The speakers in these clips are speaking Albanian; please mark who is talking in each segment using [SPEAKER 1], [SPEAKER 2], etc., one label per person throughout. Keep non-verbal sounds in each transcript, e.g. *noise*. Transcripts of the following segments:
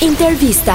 [SPEAKER 1] Intervista.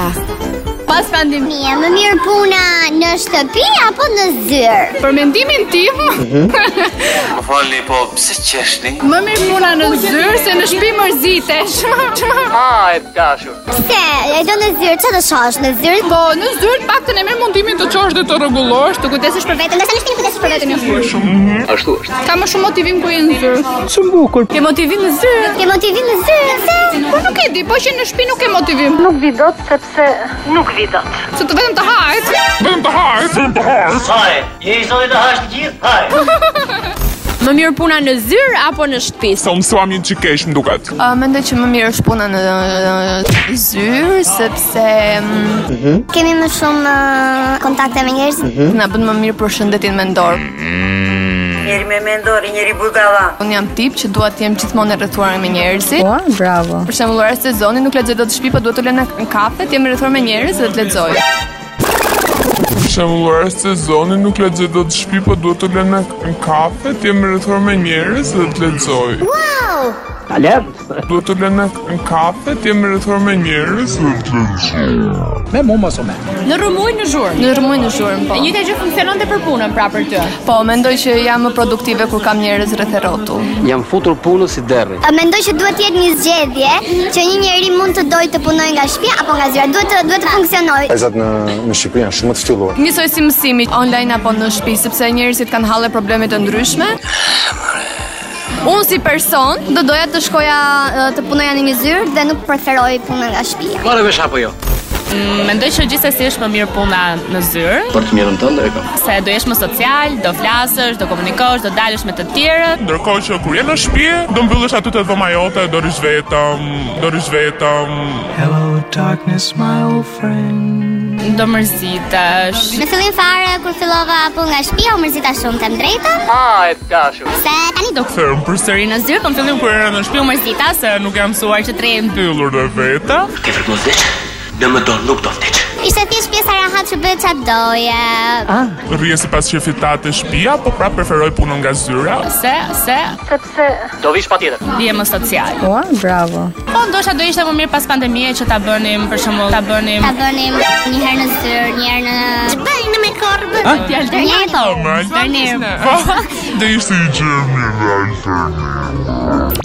[SPEAKER 2] Pas pandim
[SPEAKER 3] Mija, më mirë puna në shtëpi apo në zyrë?
[SPEAKER 2] Për mendimin tim
[SPEAKER 4] Më falni, po pse qeshni?
[SPEAKER 2] Më mirë puna në zyrë Se në shpi mërzitesh *laughs*
[SPEAKER 4] Ah, e dashur.
[SPEAKER 3] Pse, e do në zyrë, që të shosh në zyrë?
[SPEAKER 2] Po në zyrë të paktën e merr mundimin të qosh dhe të rregullosh Të kujdesesh për
[SPEAKER 3] Vetëm, nëse në shpinë kujtës për
[SPEAKER 2] vetën
[SPEAKER 3] vetëm.
[SPEAKER 2] e fushëm
[SPEAKER 4] Ashtu është.
[SPEAKER 2] Ka më shumë motivim ku je në zyrë Shumë bukur Ke motivim në zyrë
[SPEAKER 3] Ke motivim në zyrë, pse?
[SPEAKER 2] Po nuk e di, po që në shpi nuk e motivim
[SPEAKER 5] Nuk vi dot sepse nuk vi dot.
[SPEAKER 2] Se të vetëm të hajt
[SPEAKER 6] Haj, je i zoni të hashtë gjithë, haj.
[SPEAKER 7] Më mirë puna në zyrë apo në shtëpi?
[SPEAKER 8] Sa mësuam një që kesh më duket
[SPEAKER 7] Mendoj që më mirë është puna në në zyrë sepse mm,
[SPEAKER 3] Kemi më shumë uh, kontakte me njerëz.
[SPEAKER 7] na bën më mirë për shëndetin mendor.
[SPEAKER 5] Njeri me mendori, njeri bujkava.
[SPEAKER 7] Unë jam tip që dua të jem gjithmonë e rrethuar me njerëzit. Po, bravo. Për shembull, orë sezoni nuk lexoj dot në shtëpi, po duhet të lënë në kafe, të jem e rrethuar me njerëz dhe të lexoj.
[SPEAKER 8] Për shembull orë sezoni nuk lexoj dot të shtëpi, po duhet të lënë në kafe, të jem rrethuar me njerëz dhe të lexoj.
[SPEAKER 3] Wow!
[SPEAKER 8] Duhet të lënë në kafe, të jem rrethuar me njerëz dhe të lexoj.
[SPEAKER 2] Në rëmuj në zhurë
[SPEAKER 7] Në rrëmuj në zhurmë, po.
[SPEAKER 2] Njëta gjë funksionon dhe për punën pra për ty
[SPEAKER 7] Po, mendoj që jam më produktive kur kam njerëz rreth e rrotull.
[SPEAKER 9] Jam futur punës si derri.
[SPEAKER 3] A Mendoj që duhet të jetë një zgjedhje që një njeri mund të dojë të punojë nga shtëpia apo nga zyra. Duhet të duhet të funksionojë.
[SPEAKER 10] Vajzat në në Shqipëri janë shumë të ftyllur.
[SPEAKER 7] Njësoj si mësimi online apo në shtëpi, sepse njerëzit kanë halle probleme të ndryshme. Unë si person
[SPEAKER 3] Do doja të shkoja uh, të punoja në një zyrë dhe nuk preferoj punën nga shtëpia.
[SPEAKER 9] Marrë vesh apo jo?
[SPEAKER 2] Mendoj që gjithsesi është më mirë puna në zyrë,
[SPEAKER 9] Për të mirën tënde e kam.
[SPEAKER 2] se do jesh më social, do flasësh, do komunikosh, do dalësh me të tjerët,
[SPEAKER 8] Ndërkohë që kur je në shtëpi, do mbyllesh aty te dhoma jote, do rish vetëm, do rish vetëm.
[SPEAKER 2] do mërzitesh.
[SPEAKER 3] Në fillim fare kur fillova punë nga shtëpia, u mërzita shumë të drejtën,
[SPEAKER 4] Ah, e dashur.
[SPEAKER 3] se tani do
[SPEAKER 8] Them përsëri
[SPEAKER 2] Në zyrë kam fillim kur era në shtëpi u mërzita se nuk jam mësuar që të rrim.
[SPEAKER 8] mbyllur dhe veta.
[SPEAKER 9] Ti vetë mos vdiq. Në më do nuk do vdiq.
[SPEAKER 3] ishte thjesht pjesa rehat që bëhet çfarë doje.
[SPEAKER 8] Rrje sipas shefit tatë shtëpia, po prapë preferoj punën nga zyra.
[SPEAKER 2] Se se
[SPEAKER 5] Sepse
[SPEAKER 4] Do vish patjetër.
[SPEAKER 2] je më social.
[SPEAKER 7] Po, bravo.
[SPEAKER 2] Po ndoshta do ishte më mirë pas pandemisë që ta bënim për shembull, ta bënim
[SPEAKER 3] Ta bënim një herë në zyrë, një herë në Ç'bëjnë me korb?
[SPEAKER 2] djalë
[SPEAKER 3] Një herë
[SPEAKER 8] Normal.
[SPEAKER 2] *laughs* Dani.
[SPEAKER 8] Do ishte i gjë mirë ai për